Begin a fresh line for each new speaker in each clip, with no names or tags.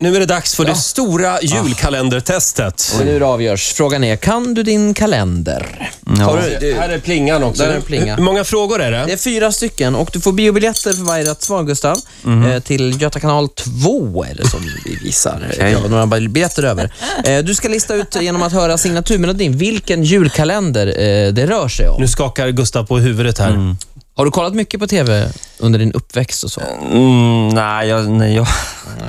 Nu är det dags för det stora julkalendertestet.
Och nu avgörs. Frågan är, kan du din kalender?
Har du, här är plingan också.
Där är plingan.
Hur många frågor är
Det
det?
är fyra stycken och du får biobiljetter för varje rätt svar, Gustav. Eh, till Göta kanal 2 är det som vi visar. Jag har några biljetter över. Eh, du ska lista ut genom att höra signaturmelodin vilken julkalender eh, det rör sig om.
Nu skakar Gustav på huvudet här.
Har du kollat mycket på TV under din uppväxt och så?
Mm, nej, jag, nej, jag...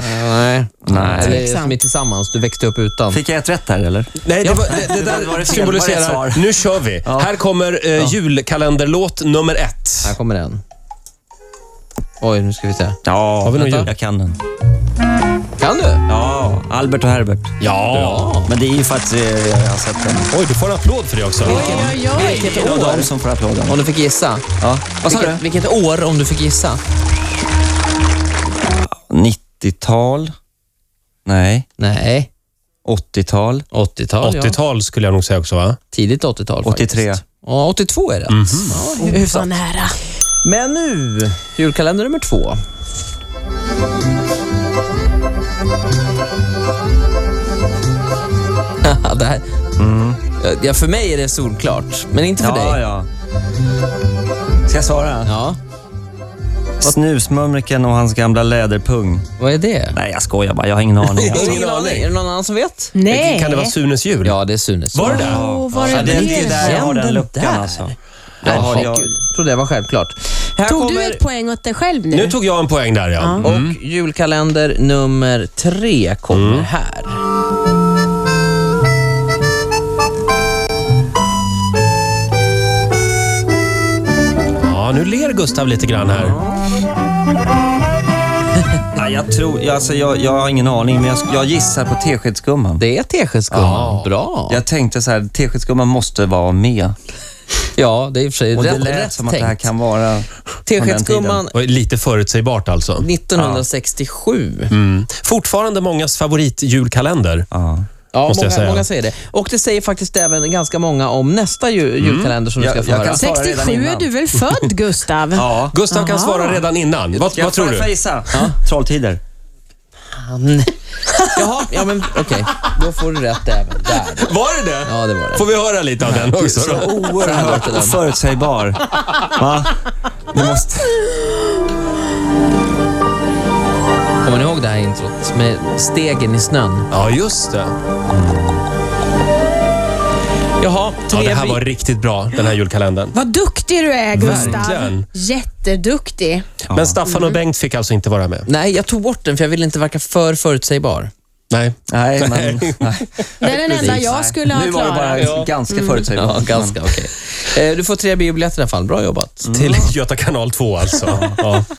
nej.
Nej.
Eller som i Tillsammans, du växte upp utan.
Fick jag ett rätt här eller?
Nej, det,
Ja.
var, det, det
Det var
där
det fel, var
symboliserar...
det ett svar?
Nu kör vi. Här kommer eh, julkalenderlåt nummer ett.
Här kommer den. Oj, nu ska vi se.
Ja,
Har vi någon
vänta.
jul?
jag kan den.
Kan du?
Ja, Albert och Herbert.
Ja!
Men det är ju för att eh, jag har sett den.
Oj, du får en applåd för det också.
Oj, oj, oj.
Det var de som får applåden.
Om du fick gissa.
Ja. Vad sa du?
Vilket, vilket år om du fick gissa?
90-tal? Nej.
Nej,
80-tal?
80-tal. ja.
80-tal skulle jag nog säga också, va?
Tidigt 80-tal
83.
faktiskt. Ja, 82 är det. Ja, hy-
Vad
hyfsat.
nära.
Men nu, julkalender nummer två. Haha, det här. Ja, för mig är det solklart, men inte för
Ja,
dig.
ja. Ska jag svara?
Ja,
Snusmumriken och hans gamla läderpung.
vad är det?
Nej, jag skojar bara. Jag har ingen aning.
Har
Alltså.
du ingen aning? Är det någon annan som vet?
Nej.
Kan det vara Sunes jul?
Ja, det är Sunes.
Var det det?
Åh, var
Ja,
det
det är inte där jag har
Den
den luckan
där.
alltså.
Jaha, jag
jag-
trodde det var självklart. Här
Tog
kommer
du ett poäng åt dig själv nu?
Nu tog jag en poäng där, ja.
och
Mm.
julkalender nummer tre kommer här.
Ja, nu ler Gustav lite grann här.
Nej, jag, tror, jag, alltså, jag, jag har ingen aning, men jag, jag gissar på Teskedsgumman.
Det är teskedsgumman. Bra.
Jag tänkte så här, Teskedsgumman måste vara med.
Ja, det är i och för sig
Och det
rätt,
lät
rätt
som att
tänkt.
det här kan vara...
Teskedsgumman
Och lite förutsägbart alltså.
Mm. 1967.
Mm. Fortfarande mångas favoritjulkalender.
Ja.
Ja,
Måste jag
många,
säga.
många säger det. Och det säger faktiskt även ganska många om nästa ju, julkalender som du
Jag-
ska få
Mm. jag
höra.
kan säga- Svara redan
67 är
innan.
du väl född, Gustav?
ja.
Gustav kan
Aha.
svara redan innan. Vad, vad tror
Får jag
du?
gissa? Trolltider.
Fan. Jaha, ja men okej. Då får du rätt även där.
Var det det?
Ja, det var det.
Får vi höra lite av den också då?
Oerhört och förutsägbar. Va? Det måste...
Kommer ni ihåg det här introt med stegen i snön?
Ja, just det.
Jaha,
Ja, det här
vi-
var riktigt bra, den här julkalendern.
Vad duktig du är, Gustav.
Verkligen.
Jätteduktig.
Men Staffan och Bengt fick alltså inte vara med?
Nej, jag tog bort den för jag ville inte verka för förutsägbar.
Nej.
Nej, men... Nej.
Det är den enda jag skulle ha
Nu var det bara
klarat.
ganska förutsägbart.
Mm, Ja, ganska okej. Eh, Du får tre biobiljetter i alla fall. Bra jobbat.
Till Göta kanal 2 alltså. Ja.